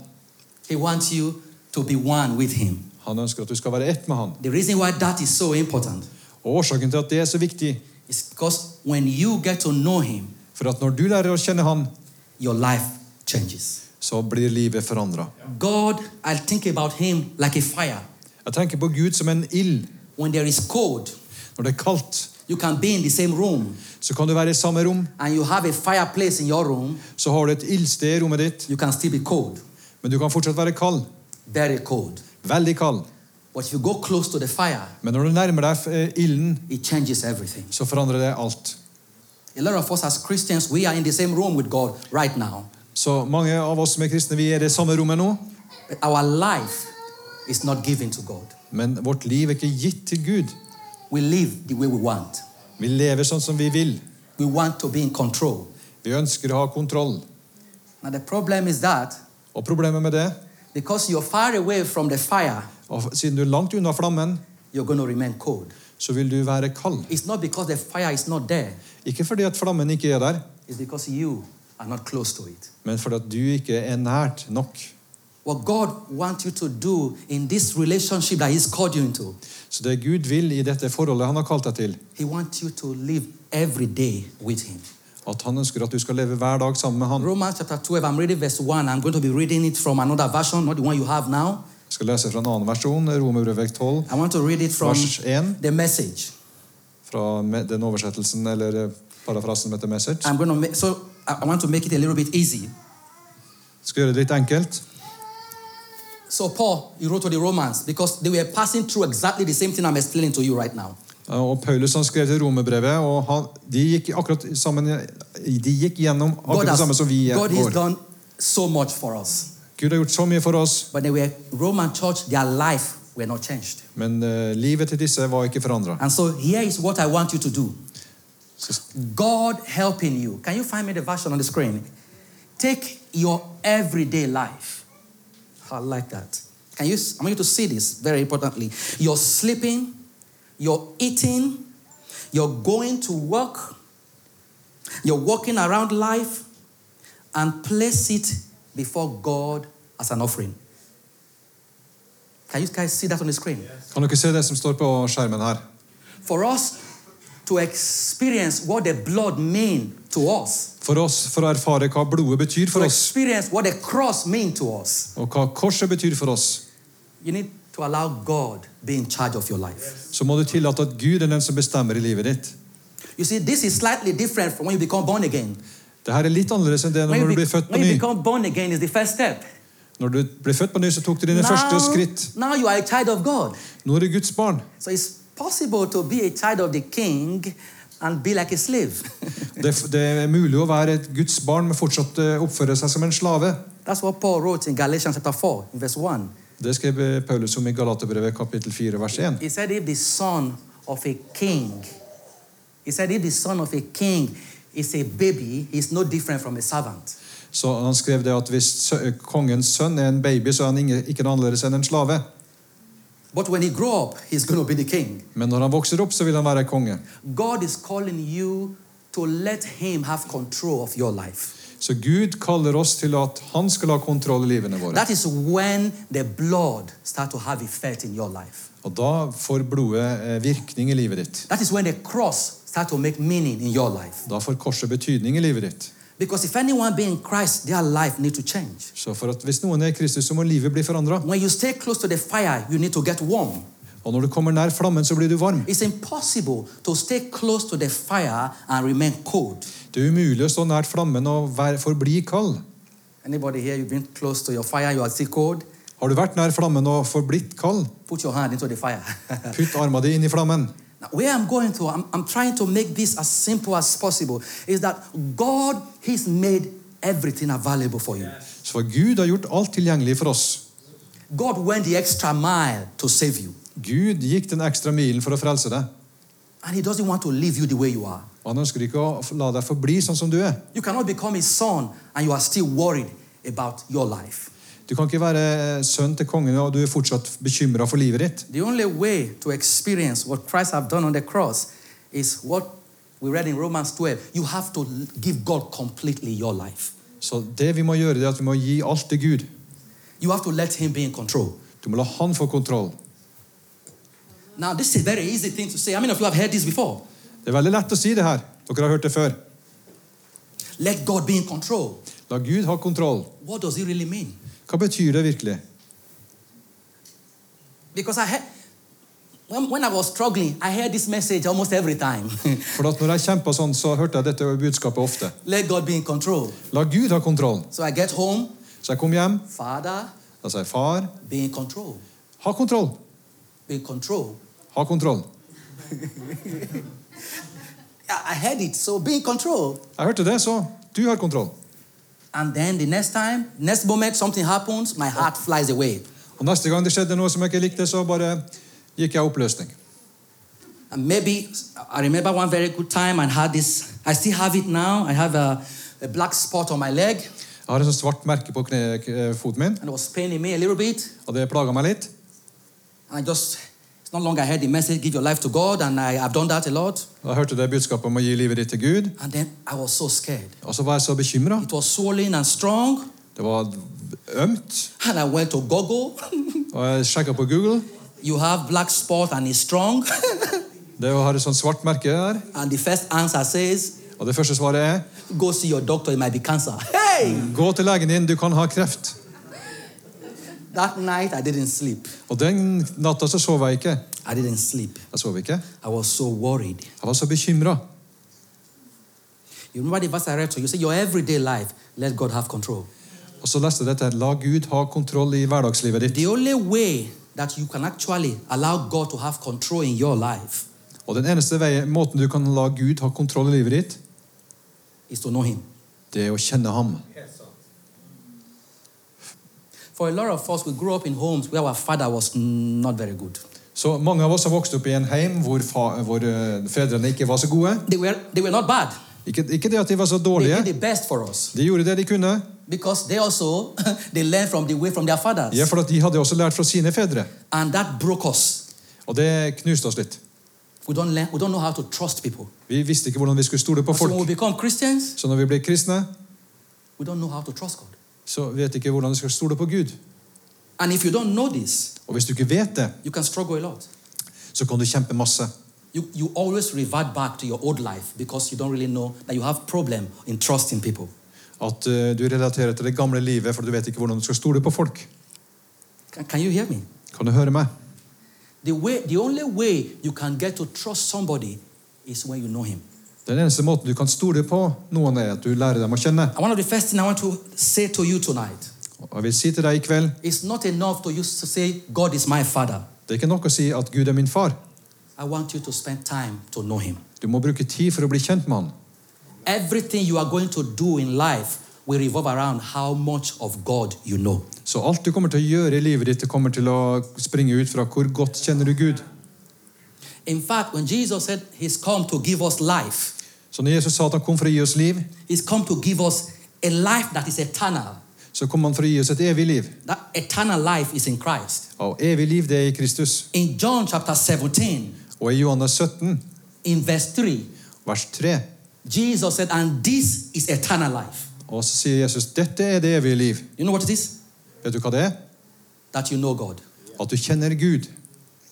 Speaker 2: He wants you to be one with Him.
Speaker 3: Han ønsker at du skal være ett med Han.
Speaker 2: The reason why that is so important
Speaker 3: Og årsaken til at det er så viktig,
Speaker 2: is because when you get to know Him,
Speaker 3: for at når du lærer å kjenne Han,
Speaker 2: your life changes.
Speaker 3: så blir livet forandra.
Speaker 2: God, I think about Him like a fire.
Speaker 3: Jeg tenker på Gud som en ild.
Speaker 2: When there is cold,
Speaker 3: Når det er kaldt,
Speaker 2: you can be in the same room
Speaker 3: så kan du være i samme rom.
Speaker 2: and you have a fireplace in your room,
Speaker 3: Så har du et ildsted i rommet ditt,
Speaker 2: you can still be cold,
Speaker 3: men du kan fortsatt være kald.
Speaker 2: very cold.
Speaker 3: Veldig kald.
Speaker 2: But if you go close to the fire,
Speaker 3: Men når du nærmer deg eh, ilden,
Speaker 2: it changes everything.
Speaker 3: så forandrer det alt.
Speaker 2: A lot of us as Christians, we are in the same room with God right now.
Speaker 3: Så mange av oss som er kristne, vi er i det samme rommet nå,
Speaker 2: But our life is not given to God.
Speaker 3: men vårt liv er ikke gitt til Gud.
Speaker 2: We live the way we want.
Speaker 3: Vi lever sånn som vi vil.
Speaker 2: We want to be in control.
Speaker 3: Vi ønsker å ha kontroll.
Speaker 2: Now, the problem is that
Speaker 3: Og problemet med det,
Speaker 2: because you're far away from the fire,
Speaker 3: og siden du er langt unna flammen,
Speaker 2: you're going to remain cold.
Speaker 3: så vil du være kald.
Speaker 2: It's not because the fire is not there,
Speaker 3: Ikke fordi at flammen ikke er der,
Speaker 2: it's because you are not close to it.
Speaker 3: men fordi at du ikke er nært nok.
Speaker 2: What God wants you to do in this relationship that He's called you into,
Speaker 3: Så det Gud vil i dette forholdet han har kalt deg til,
Speaker 2: He wants you to live every day with Him.
Speaker 3: at han ønsker at du skal leve hver dag sammen med han.
Speaker 2: Romans chapter 12, I'm reading verse 1. I'm going to be reading it from another version, not the one you have now.
Speaker 3: Jeg skal lese fra en annen versjon, Romerbrevet 12,
Speaker 2: I want to read it from
Speaker 3: vers 1.
Speaker 2: the message.
Speaker 3: fra me- den oversettelsen eller eh, parafrasen med The Message.
Speaker 2: I'm going to make, so I I want to make it a little bit easy.
Speaker 3: Skal gjøre det litt enkelt.
Speaker 2: So Paul, he wrote to the Romans because they were passing through exactly the same thing I'm explaining to you right now.
Speaker 3: Eh, Og Paulus han skrev til romerbrevet, og han, de gikk akkurat sammen De gikk gjennom akkurat det samme som vi
Speaker 2: God has
Speaker 3: går.
Speaker 2: done so much for us.
Speaker 3: Gud har gjort så mye for oss,
Speaker 2: But they were Roman church, their life were not changed.
Speaker 3: men eh, livet til disse var ikke forandra.
Speaker 2: And so here is what I want you to do. God helping you. Can you find me the version on the screen? Take your everyday life. I like that. Can you? I want you to see this very importantly. Your sleeping, your eating, You're going to work, you're walking around life, and place it before God as an offering. Can you guys see that on the screen?
Speaker 3: Kan dere se det som står på skjermen her?
Speaker 2: For us to experience what the blood means to us,
Speaker 3: For oss, for å erfare hva blodet betyr
Speaker 2: to
Speaker 3: for oss,
Speaker 2: experience what the cross means to us,
Speaker 3: og hva korset betyr for oss,
Speaker 2: you need to allow God be in charge of your life.
Speaker 3: så må du tillate at Gud er den som bestemmer i livet ditt.
Speaker 2: You see, this is slightly different from when you become born again.
Speaker 3: Det her er litt annerledes enn det
Speaker 2: When you,
Speaker 3: når du
Speaker 2: bec-
Speaker 3: blir født på
Speaker 2: when you
Speaker 3: ny.
Speaker 2: become born again is the first step.
Speaker 3: Når du ble født på ny, så tok du dine første skritt.
Speaker 2: now you are a child of God.
Speaker 3: Nå er du Guds barn.
Speaker 2: So it's possible to be a child of the king and be like a slave.
Speaker 3: Det, det er mulig å være et Guds barn, men fortsatt eh, oppføre seg som en slave.
Speaker 2: That's what Paul wrote in Galatians chapter 4, in verse 1.
Speaker 3: Det skrev eh, Paulus om i Galaterbrevet kapittel 4, vers 1.
Speaker 2: He said, If the son of a king, he said, if the son of a king is a baby, he's no different from a servant.
Speaker 3: Så han skrev det at hvis sø- eh, kongens sønn er en baby, så er han inge- ikke noe annerledes enn en slave.
Speaker 2: But when he grow up, he's going to be the king.
Speaker 3: Men når han vokser opp, så vil han være konge.
Speaker 2: God is calling you to let him have control of your life.
Speaker 3: Så Gud kaller oss til at han skal ha kontroll i livene våre.
Speaker 2: That is when the blood start to have effect in your life.
Speaker 3: Og da får blodet eh, virkning i livet ditt.
Speaker 2: That is when the cross start to make meaning in your life.
Speaker 3: Da får korset betydning i livet ditt.
Speaker 2: Because if anyone be in Christ, their life need to change.
Speaker 3: Så for at hvis noen er i Kristus, så må livet bli forandra.
Speaker 2: When you stay close to the fire, you need to get warm.
Speaker 3: Og når du kommer nær flammen, så blir du varm.
Speaker 2: It's impossible to stay close to the fire and remain cold.
Speaker 3: Det er umulig å stå nært flammen og være, forbli kald.
Speaker 2: Anybody here, you've been close to your fire, you are still cold?
Speaker 3: Har du vært nær flammen og forblitt kald,
Speaker 2: Put your hand into the fire.
Speaker 3: putt armen din inn i flammen.
Speaker 2: now, where I'm going to, I'm, I'm trying to make this as simple as possible, is that God, He's made everything available for you.
Speaker 3: Så for Gud har gjort alt tilgjengelig for oss.
Speaker 2: God went the extra mile to save you,
Speaker 3: Gud gikk den ekstra milen for å frelse deg.
Speaker 2: and He doesn't want to leave you the way you are.
Speaker 3: Og Han ønsker ikke å la deg forbli sånn som du er.
Speaker 2: You cannot become his son and you are still worried about your life.
Speaker 3: Du kan ikke være eh, sønn til kongen og du er fortsatt bekymra for livet ditt.
Speaker 2: The only way to experience what Christ have done on the cross is what we read in Romans 12. You have to give God completely your life.
Speaker 3: Så det vi må gjøre, det er at vi må gi alt til Gud.
Speaker 2: You have to let him be in control.
Speaker 3: Du må la Han få kontroll.
Speaker 2: Now, this is a very easy thing to say. How many of you have heard this before?
Speaker 3: Det er veldig lett å si det her. Dere har hørt det før.
Speaker 2: Let God be in control.
Speaker 3: La Gud ha kontroll.
Speaker 2: What does it really mean?
Speaker 3: Hva betyr det virkelig?
Speaker 2: Because I had when, when I was struggling, I heard this message almost every time.
Speaker 3: For at når jeg kjempa sånn, så hørte jeg dette budskapet ofte.
Speaker 2: Let God be in control.
Speaker 3: La Gud ha kontroll.
Speaker 2: So I get home,
Speaker 3: Så jeg kom hjem.
Speaker 2: Father,
Speaker 3: Da sa jeg, far,
Speaker 2: be in control.
Speaker 3: ha kontroll.
Speaker 2: Be in control.
Speaker 3: Ha kontroll.
Speaker 2: I I heard it, so be in control.
Speaker 3: Jeg hørte det, så du har kontroll.
Speaker 2: And then the next time, next moment something happens, my heart flies away.
Speaker 3: Og neste gang det skjedde noe som jeg ikke likte, så bare gikk jeg i oppløsning.
Speaker 2: And maybe I remember one very good time I had this, I still have it now. I have a, a black spot on my leg
Speaker 3: Jeg har en sånn svart merke på kne, k- eh, foten min,
Speaker 2: and it was paining me a little bit.
Speaker 3: og det plaga meg litt.
Speaker 2: And I just, it's not long I heard the message, give your life to God, and I, I've done that a lot.
Speaker 3: Da hørte jeg det budskapet om å gi livet ditt til Gud,
Speaker 2: And then I was so scared.
Speaker 3: og så var jeg så bekymra.
Speaker 2: It was swollen and strong,
Speaker 3: Det var ømt,
Speaker 2: and I went to Google.
Speaker 3: og jeg sjekka på Google.
Speaker 2: you have black spot and it's strong.
Speaker 3: Det har et sånt svart merke der,
Speaker 2: and the first answer says,
Speaker 3: og det første svaret er
Speaker 2: go see your doctor, it might be cancer. Hey!
Speaker 3: Gå til legen din, du kan ha kreft.
Speaker 2: That night I didn't sleep.
Speaker 3: Og den natta så sov jeg ikke.
Speaker 2: I didn't sleep.
Speaker 3: Jeg sov ikke.
Speaker 2: I was so worried.
Speaker 3: Jeg var så bekymra.
Speaker 2: You remember the verse I read to you? Say, your everyday life, let God have control.
Speaker 3: Og så leste jeg dette. La Gud ha kontroll i hverdagslivet ditt.
Speaker 2: The only way that you can actually allow God to have control in your life
Speaker 3: Og den eneste veien, måten du kan la Gud ha kontroll i livet ditt,
Speaker 2: is to know Him.
Speaker 3: det er å kjenne ham.
Speaker 2: For a lot of us, we grew up in homes where our father was not very good.
Speaker 3: Så mange av oss har vokst opp i en heim hvor, fa, hvor eh, fedrene ikke var så gode.
Speaker 2: They were, they were not bad.
Speaker 3: Ikke, ikke det at de var så
Speaker 2: They
Speaker 3: dårlige.
Speaker 2: did the best for us
Speaker 3: De gjorde det de kunne.
Speaker 2: because they also they learned from the way from their fathers,
Speaker 3: Ja, for at de hadde også lært fra sine fedre.
Speaker 2: and that broke us.
Speaker 3: Og det knuste oss litt.
Speaker 2: We don't, learn, we don't know how to trust people.
Speaker 3: Vi visste ikke hvordan vi skulle stole på
Speaker 2: So when we
Speaker 3: folk.
Speaker 2: become Christians,
Speaker 3: Så når vi blir kristne,
Speaker 2: we don't know how to trust God.
Speaker 3: så vet vi ikke hvordan vi skal stole på Gud.
Speaker 2: And if you don't know this,
Speaker 3: Og hvis du ikke vet det,
Speaker 2: you can struggle a lot.
Speaker 3: så kan du kjempe masse.
Speaker 2: You, you always revert back to your old life because you don't really know that you have problem in trusting people.
Speaker 3: At eh, du relaterer til det gamle livet, for du vet ikke hvordan du skal stole på folk.
Speaker 2: Can, can you hear me?
Speaker 3: Kan du høre meg?
Speaker 2: The, way, the only way you can get to trust somebody is when you know him.
Speaker 3: Den eneste måten du kan stole på noen, er at du lærer dem å kjenne.
Speaker 2: And one of the first things I want to say to you tonight
Speaker 3: Og jeg vil si til deg i kveld
Speaker 2: it's not enough to just say, God is my father.
Speaker 3: det er ikke nok å si at Gud er min far.
Speaker 2: I want you to spend time to know him.
Speaker 3: Du må bruke tid for å bli kjent med han.
Speaker 2: Everything you are going to do in life will revolve around how much of God you know.
Speaker 3: Så alt du kommer til å gjøre i livet ditt, det kommer til å springe ut fra hvor godt kjenner du Gud.
Speaker 2: In fact, when Jesus said he's come to give us life,
Speaker 3: Så når Jesus sa at han kom for å gi oss liv,
Speaker 2: he's come to give us a life that is eternal.
Speaker 3: så kom han for å gi oss et evig liv.
Speaker 2: That eternal life is in Christ.
Speaker 3: Og evig liv, det er i Kristus.
Speaker 2: In John chapter 17,
Speaker 3: Og i Johannes 17,
Speaker 2: in verse 3,
Speaker 3: vers 3,
Speaker 2: Jesus said, And this is eternal life.
Speaker 3: og så sier Jesus, dette er det evige liv.
Speaker 2: You know what it is?
Speaker 3: Vet du hva det er?
Speaker 2: That you know God,
Speaker 3: At du kjenner Gud.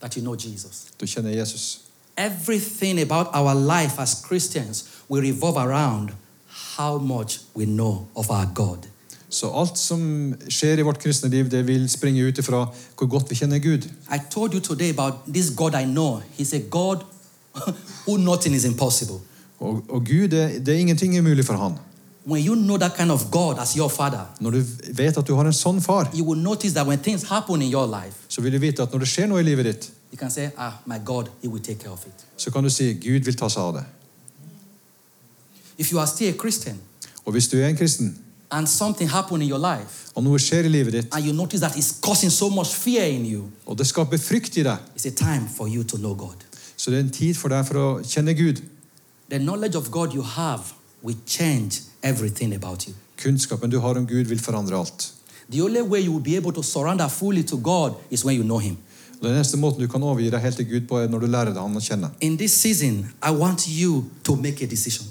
Speaker 2: that you know Jesus.
Speaker 3: Du kjenner Jesus.
Speaker 2: Everything about our life as Christians will revolve around how much we know of our God.
Speaker 3: Så alt som skjer i vårt kristne liv, det vil springe ut ifra hvor godt vi kjenner Gud.
Speaker 2: I told you today about this God I know. He's a God who nothing is impossible.
Speaker 3: Og, og Gud, det, det er ingenting umulig for han.
Speaker 2: When you know that kind of God as your father,
Speaker 3: Når du vet at du har en sånn far,
Speaker 2: you will notice that when things happen in your life,
Speaker 3: så vil du vite at når det skjer noe i livet ditt,
Speaker 2: you can say, Ah, my God, He will take care of it.
Speaker 3: så kan du si Gud vil ta seg av det.
Speaker 2: If you are still a Christian
Speaker 3: Og hvis du er en kristen,
Speaker 2: and something happened in your life
Speaker 3: og noe skjer i livet ditt,
Speaker 2: and you notice that it's causing so much fear in you,
Speaker 3: og det skaper frykt i deg,
Speaker 2: it's a time for you to know God.
Speaker 3: så det er en tid for deg for å kjenne Gud.
Speaker 2: The knowledge of God you have will change everything about you.
Speaker 3: Kunnskapen du har om Gud, vil forandre alt.
Speaker 2: The only way you will be able to surrender fully to God is when you know Him.
Speaker 3: Og Den eneste måten du kan overgi deg helt til Gud på, er når du lærer deg han å kjenne.
Speaker 2: In this season, I want you to make a decision.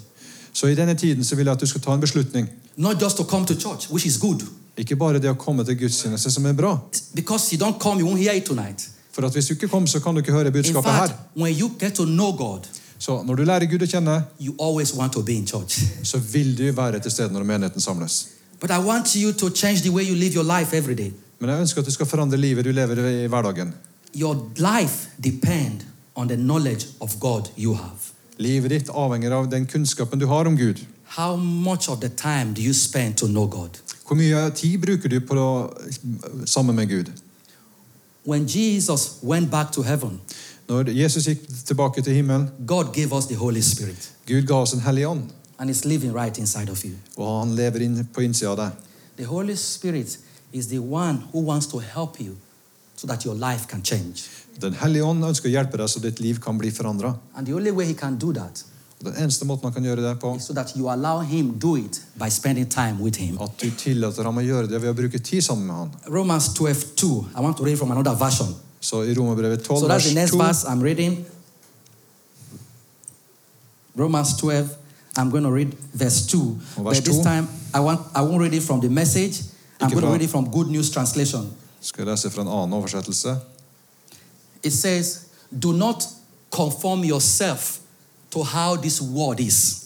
Speaker 3: Så i denne tiden så vil jeg at du skal ta en beslutning.
Speaker 2: Not just to come to church, which is good.
Speaker 3: Ikke bare det å komme til gudstjeneste som er bra.
Speaker 2: Because you don't come, you won't hear it tonight.
Speaker 3: For at hvis du ikke kom, så kan du ikke høre
Speaker 2: In
Speaker 3: budskapet
Speaker 2: fact,
Speaker 3: her.
Speaker 2: when you get to know God,
Speaker 3: Så når du lærer Gud å kjenne,
Speaker 2: you always want to be in church.
Speaker 3: så vil du være til stede når menigheten samles.
Speaker 2: But I want you to change the way you live your life every day.
Speaker 3: Men jeg ønsker at du skal forandre livet du lever i hverdagen.
Speaker 2: Your life depends on the knowledge of God you have.
Speaker 3: Livet ditt avhenger av den kunnskapen du har om Gud.
Speaker 2: How much of the time do you spend to know God?
Speaker 3: Hvor mye tid bruker du på å sammen med Gud?
Speaker 2: When Jesus went back to heaven,
Speaker 3: Når Jesus gikk tilbake til himmelen,
Speaker 2: God gave us the Holy Spirit,
Speaker 3: Gud ga oss en hellig ånd,
Speaker 2: and it's living right inside of you.
Speaker 3: og han lever inn på innsida av deg.
Speaker 2: The Holy Spirit is the one who wants to help you so that your life can change.
Speaker 3: Den hellige ånd ønsker å hjelpe deg så ditt liv kan bli forandra.
Speaker 2: And the only way He can do that
Speaker 3: Den eneste måten han kan gjøre det på,
Speaker 2: is so that you allow Him do it by spending time with Him.
Speaker 3: at du tillater ham å gjøre det ved å bruke tid sammen med han.
Speaker 2: Romans 12 2. I want to read from another version.
Speaker 3: Så i Romerbrevet 12,
Speaker 2: So that's the next
Speaker 3: vers 2
Speaker 2: verse I'm reading. Romans 12. I'm going to read verse 2.
Speaker 3: Verse
Speaker 2: But this
Speaker 3: 2.
Speaker 2: time I want I won't read it from the message. I'm
Speaker 3: Ikke
Speaker 2: going to
Speaker 3: fra-
Speaker 2: read it from Good News Translation.
Speaker 3: skal jeg lese fra en annen oversettelse.
Speaker 2: It says, Do not conform yourself to how this world is.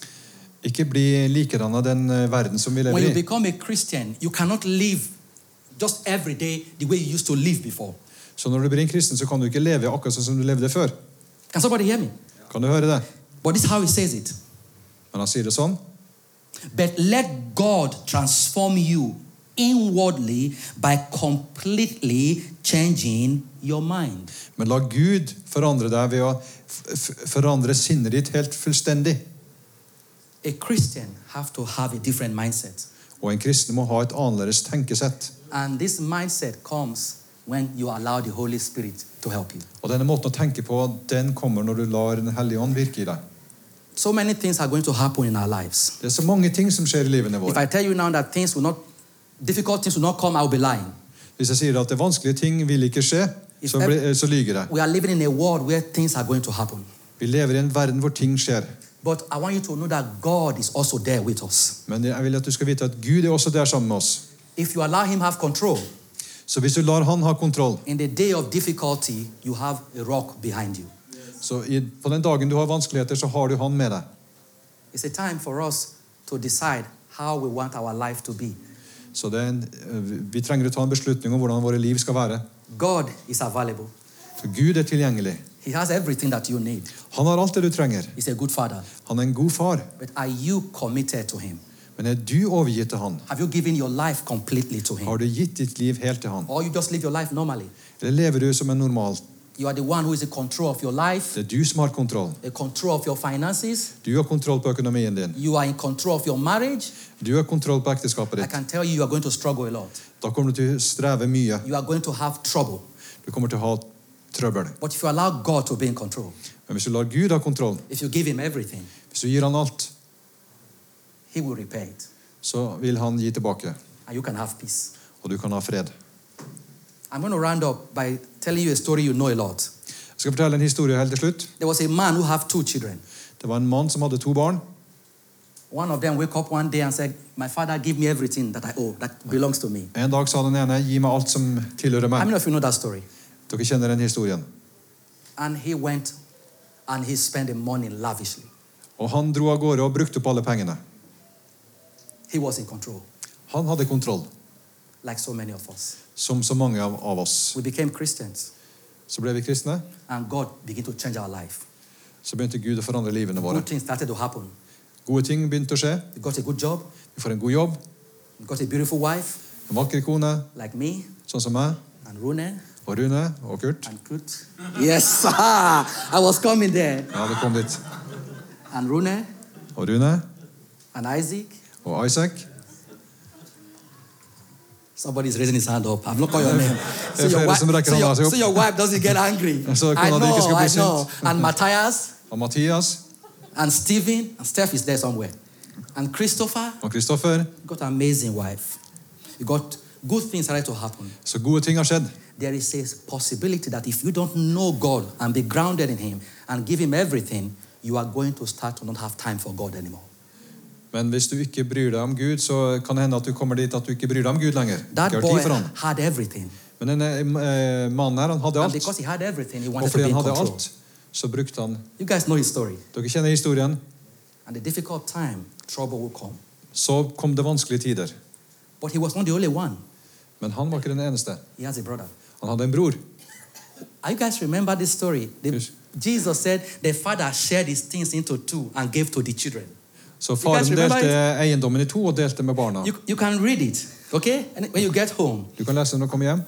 Speaker 3: Ikke bli likedan av den eh, verden som vi
Speaker 2: When you
Speaker 3: lever i.
Speaker 2: become a Christian, you cannot live just every day the way you used to live before.
Speaker 3: Så når du blir en kristen, så kan du ikke leve akkurat sånn som du levde før.
Speaker 2: Can somebody hear me?
Speaker 3: Kan du høre det?
Speaker 2: But this is how he says it.
Speaker 3: Men han sier det sånn.
Speaker 2: But let God transform you inwardly by completely changing your mind.
Speaker 3: Men la Gud forandre deg ved å f f forandre sinnet ditt helt fullstendig.
Speaker 2: A Christian have to have a different mindset.
Speaker 3: Og en kristen må ha et annerledes tenkesett.
Speaker 2: And this mindset comes when you allow the Holy Spirit to help you.
Speaker 3: Og denne måten å tenke på, den kommer når du lar Den hellige ånd virke i deg.
Speaker 2: So many things are going to happen in our lives.
Speaker 3: Det er så mange ting som skjer i livene
Speaker 2: If
Speaker 3: våre.
Speaker 2: I tell you now that things will not, difficult things will not come, I'll be lying.
Speaker 3: Hvis jeg sier at det vanskelige ting vil ikke skje, så, blir- så lyger jeg.
Speaker 2: We are living in a world where things are going to happen.
Speaker 3: Vi lever i en verden hvor ting skjer.
Speaker 2: But I want you to know that God is also there with us.
Speaker 3: Men jeg vil at du skal vite at Gud er også der sammen med oss.
Speaker 2: If you allow Him have control,
Speaker 3: Så hvis du lar Han ha kontroll,
Speaker 2: in the day of difficulty, you have a rock behind you.
Speaker 3: så i, på den dagen du har vanskeligheter, så har du Han med deg.
Speaker 2: It's a time for us to decide how we want our life to be.
Speaker 3: Så det er en, eh, vi trenger å ta en beslutning om hvordan våre liv skal være.
Speaker 2: God is available.
Speaker 3: For Gud er tilgjengelig.
Speaker 2: He has everything that you need.
Speaker 3: Han har alt det du trenger.
Speaker 2: He's a good father.
Speaker 3: Han er en god far.
Speaker 2: But are you committed to Him?
Speaker 3: Men er du overgitt til Han?
Speaker 2: Have you given your life completely to Him?
Speaker 3: Har du gitt ditt liv helt til Han?
Speaker 2: Or you just live your life normally?
Speaker 3: Eller lever du som en normal?
Speaker 2: You are the one who is in control of your life,
Speaker 3: Det er du som har kontroll.
Speaker 2: in control of your finances.
Speaker 3: Du har kontroll på økonomien din.
Speaker 2: You are in control of your marriage.
Speaker 3: Du har kontroll på ekteskapet
Speaker 2: I
Speaker 3: ditt.
Speaker 2: can tell you, you are going to struggle a lot.
Speaker 3: Da kommer du til å streve mye.
Speaker 2: You are going to have trouble.
Speaker 3: Du kommer til å ha trøbbel.
Speaker 2: But if you allow God to be in control,
Speaker 3: Men hvis du lar Gud ha kontroll,
Speaker 2: if you give Him everything,
Speaker 3: hvis du gir Han alt,
Speaker 2: He will repay it.
Speaker 3: så vil Han gi tilbake.
Speaker 2: And "Ah, you can have peace.
Speaker 3: Og du kan ha fred.
Speaker 2: I'm going to round up by telling you a story you know a lot.
Speaker 3: Jeg skal fortelle en historie helt til slutt.
Speaker 2: There was a man who had two children.
Speaker 3: Det var en mann som hadde to barn.
Speaker 2: One of them woke up one day and said, My father gave me everything that I owe, that belongs to me.
Speaker 3: En dag sa den ene 'gi meg alt som tilhører
Speaker 2: How many
Speaker 3: meg'.
Speaker 2: of you know that story?
Speaker 3: Dere kjenner den historien.
Speaker 2: And he went and he spent the money lavishly.
Speaker 3: Og han dro av gårde og brukte opp alle pengene.
Speaker 2: He was in control,
Speaker 3: Han hadde kontroll,
Speaker 2: like so many of us.
Speaker 3: som så mange av, av oss.
Speaker 2: We became Christians,
Speaker 3: Så ble vi kristne.
Speaker 2: and God began to change our life.
Speaker 3: Så begynte Gud å forandre livene våre.
Speaker 2: Good things started to happen.
Speaker 3: Gode ting begynte å skje.
Speaker 2: We got a good job,
Speaker 3: Vi får en god jobb,
Speaker 2: we got a beautiful wife,
Speaker 3: en vakker kone,
Speaker 2: like me,
Speaker 3: sånn som meg,
Speaker 2: and Rune,
Speaker 3: og Rune og Kurt.
Speaker 2: and Kut. Yes, ah, I was coming there.
Speaker 3: Ja, det kom dit.
Speaker 2: And Rune,
Speaker 3: Og Rune
Speaker 2: and Isaac.
Speaker 3: og Isaac.
Speaker 2: Somebody's raising his hand up. I've not called your name. So
Speaker 3: If
Speaker 2: your,
Speaker 3: there
Speaker 2: wife,
Speaker 3: is somebody
Speaker 2: so,
Speaker 3: can
Speaker 2: your,
Speaker 3: answer.
Speaker 2: so your wife doesn't get angry.
Speaker 3: So I
Speaker 2: I
Speaker 3: cannot think it's
Speaker 2: know,
Speaker 3: gonna be
Speaker 2: I
Speaker 3: sent.
Speaker 2: know. And Matthias
Speaker 3: Og Mathias
Speaker 2: and Stephen. And Steph is there somewhere. And Christopher
Speaker 3: og Kristoffer.
Speaker 2: got an amazing wife. You got good things started to happen.
Speaker 3: Så gode ting har skjedd.
Speaker 2: There is a possibility that if you don't know God and be grounded in Him and give Him everything, you are going to start to not have time for God anymore.
Speaker 3: Men hvis du ikke bryr deg om Gud, så kan det hende at du kommer dit at du ikke bryr deg om Gud lenger.
Speaker 2: That
Speaker 3: Ikke har
Speaker 2: boy
Speaker 3: tid for han.
Speaker 2: had everything.
Speaker 3: Men denne eh, mannen her, han hadde
Speaker 2: And
Speaker 3: alt.
Speaker 2: because he had everything, he
Speaker 3: Og
Speaker 2: wanted to
Speaker 3: fordi
Speaker 2: be in
Speaker 3: han hadde
Speaker 2: control.
Speaker 3: alt, så brukte han
Speaker 2: You guys know his story.
Speaker 3: Dere kjenner historien.
Speaker 2: And the difficult time, trouble will come.
Speaker 3: Så kom det vanskelige tider.
Speaker 2: But he was not the only one.
Speaker 3: Men han var ikke den eneste.
Speaker 2: He has a brother.
Speaker 3: Han hadde en bror.
Speaker 2: Are you guys remember this story? The-
Speaker 3: Yes.
Speaker 2: Jesus said the father shared his things into two and gave to the children.
Speaker 3: Så
Speaker 2: You guys
Speaker 3: faren
Speaker 2: remember
Speaker 3: delte eiendommen i to og delte med barna.
Speaker 2: You, you can read it, okay? And when you get home,
Speaker 3: Du kan lese den når du kommer hjem.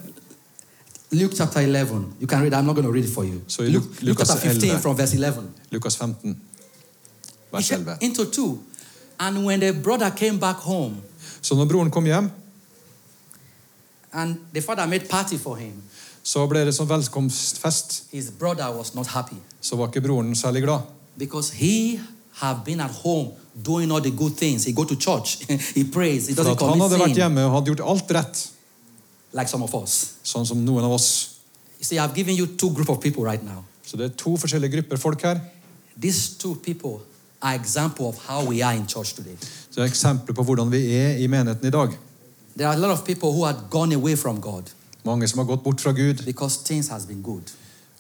Speaker 2: Luke chapter 11. You can read. I'm not going to read it for you.
Speaker 3: So
Speaker 2: Luke,
Speaker 3: Luke-
Speaker 2: Luke
Speaker 3: Lucas
Speaker 2: chapter 15
Speaker 3: 11.
Speaker 2: from verse 11.
Speaker 3: Lukas 15,
Speaker 2: He
Speaker 3: vers
Speaker 2: shared
Speaker 3: 11.
Speaker 2: into two, and when the brother came back home,
Speaker 3: Så når broren kom hjem,
Speaker 2: and the father made party for him,
Speaker 3: så ble det sånn velkomstfest.
Speaker 2: his brother was not happy
Speaker 3: Så var ikke broren særlig glad.
Speaker 2: because he have been at home doing all the good things. He go to church, he prays, he
Speaker 3: For
Speaker 2: doesn't
Speaker 3: at han
Speaker 2: commit
Speaker 3: hadde vært
Speaker 2: sin
Speaker 3: hjemme og hadde gjort alt rett,
Speaker 2: like some of us.
Speaker 3: sånn som noen av oss.
Speaker 2: You see, I've given you two group of people right now.
Speaker 3: Så det er to forskjellige grupper folk her.
Speaker 2: These two people are example of how we are in church today.
Speaker 3: Så det er eksempler på hvordan vi er i menigheten i dag.
Speaker 2: There are a lot of people who had gone away from God
Speaker 3: Mange som har gått bort fra Gud
Speaker 2: because things has been good.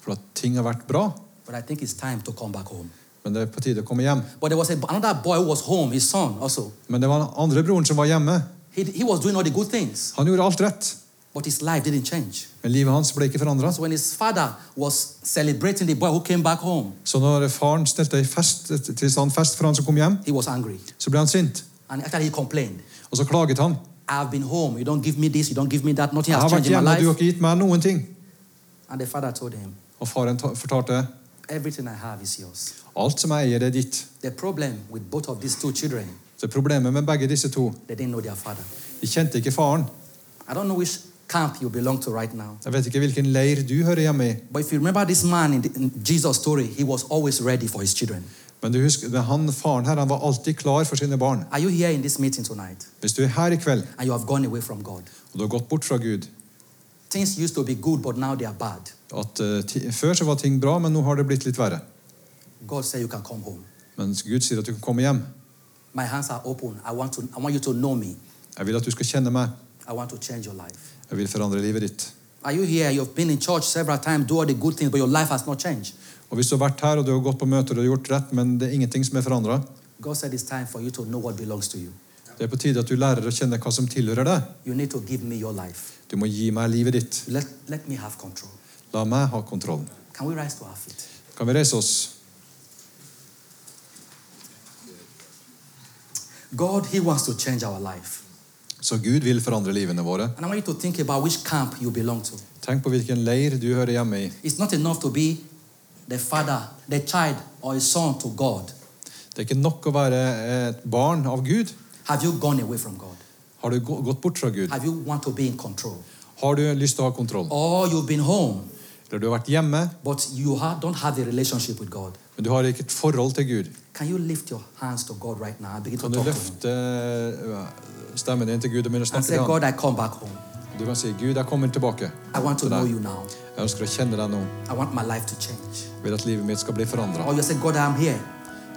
Speaker 3: for at ting har vært bra.
Speaker 2: But I think it's time to come back home.
Speaker 3: Men det er på tide å komme hjem.
Speaker 2: But there was a, another boy who was home, his son also.
Speaker 3: Men det var den andre broren som var hjemme.
Speaker 2: He, he was doing all the good things,
Speaker 3: Han gjorde alt rett,
Speaker 2: but his life didn't change.
Speaker 3: men livet hans ble ikke forandra.
Speaker 2: So when his father was celebrating the boy who came back home,
Speaker 3: Så når faren stelte i fest, til stand fest for han som kom hjem,
Speaker 2: he was angry.
Speaker 3: så ble han sint.
Speaker 2: And actually, he complained.
Speaker 3: Og så klaget han.
Speaker 2: I've been home. You don't give me this. You don't give me that. Nothing
Speaker 3: Jeg
Speaker 2: has
Speaker 3: har
Speaker 2: changed
Speaker 3: vært
Speaker 2: in my
Speaker 3: hjemme, og du har
Speaker 2: life.
Speaker 3: ikke gitt meg noen ting.
Speaker 2: And the father told him,
Speaker 3: Og faren ta- fortalte
Speaker 2: Everything I have is yours.
Speaker 3: alt som jeg eier, er ditt.
Speaker 2: The problem with both of these two children,
Speaker 3: Så problemet med begge disse to
Speaker 2: they didn't know their father.
Speaker 3: De kjente ikke faren.
Speaker 2: I don't know which camp you belong to right now.
Speaker 3: Jeg vet ikke hvilken leir du hører hjemme i.
Speaker 2: But if you remember this man in, the, in Jesus' story, he was always ready for his children.
Speaker 3: Men du husker, men han, faren her han var alltid klar for sine barn.
Speaker 2: Are you here in this meeting tonight
Speaker 3: Hvis du er her i kveld
Speaker 2: and you have gone away from God?
Speaker 3: og du har gått bort fra Gud
Speaker 2: Things used to be good, but now they are bad.
Speaker 3: at eh, ti, Før så var ting bra, men nå har det blitt litt verre.
Speaker 2: God said you can come home.
Speaker 3: Mens Gud sier at du kan komme hjem.
Speaker 2: My hands are open. I want, to, I want you to know me.
Speaker 3: Jeg vil at du skal kjenne meg.
Speaker 2: I want to change your life.
Speaker 3: Jeg vil forandre livet ditt.
Speaker 2: Are you here? You've been in church several times, do all the good things, but your life has not changed.
Speaker 3: Og Hvis du har vært her og du har gått på møter og du har gjort rett, men det er ingenting som er forandra,
Speaker 2: God said it's time for you to know what belongs to you.
Speaker 3: det er på tide at du lærer å kjenne hva som tilhører deg.
Speaker 2: You need to give me your life.
Speaker 3: Du må gi meg livet ditt.
Speaker 2: Let, let me have control.
Speaker 3: La meg ha kontrollen.
Speaker 2: Can we rise to our feet?
Speaker 3: Kan vi reise oss?
Speaker 2: God, He wants to change our life.
Speaker 3: Så Gud vil forandre livene våre.
Speaker 2: And I want you to think about which camp you belong to.
Speaker 3: Tenk på hvilken leir du hører hjemme i.
Speaker 2: It's not enough to be the father, the child, or a son to God.
Speaker 3: Det er ikke nok å være eh, et barn av Gud.
Speaker 2: Have you gone away from God?
Speaker 3: Har du gå- gått bort fra Gud?
Speaker 2: Have you want to be in control?
Speaker 3: Har du lyst til å ha kontroll?
Speaker 2: Or you've been home,
Speaker 3: Eller du har vært hjemme,
Speaker 2: but you ha- don't have a relationship with God.
Speaker 3: men du har ikke et forhold til Gud.
Speaker 2: Can you lift your hands to God right now and begin to
Speaker 3: Kan du
Speaker 2: talk to Him?
Speaker 3: løfte øh, stemmen din til Gud og begynne å
Speaker 2: And
Speaker 3: snakke
Speaker 2: say,
Speaker 3: til ham?
Speaker 2: God, I come back home.
Speaker 3: Du kan si, 'Gud, jeg kommer tilbake.
Speaker 2: I want to
Speaker 3: til
Speaker 2: know
Speaker 3: deg.
Speaker 2: you now.
Speaker 3: Jeg ønsker å kjenne deg nå.
Speaker 2: I want my life to change.
Speaker 3: Jeg vil at livet mitt skal bli forandra.'
Speaker 2: Or you say, God, I'm here.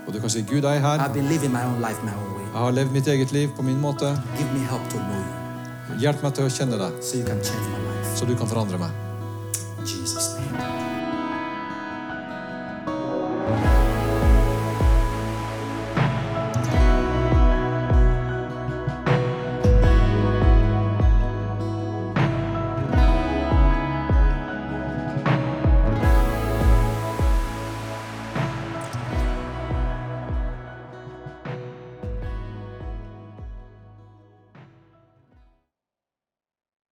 Speaker 3: Og du kan si, 'Gud, jeg er her.
Speaker 2: I've been living my own life my own way.
Speaker 3: Jeg har levd mitt eget liv på min måte.
Speaker 2: Give me help to know
Speaker 3: Hjelp meg til å kjenne deg,
Speaker 2: you so you can change my life.
Speaker 3: så du kan forandre meg.'
Speaker 2: In Jesus' name.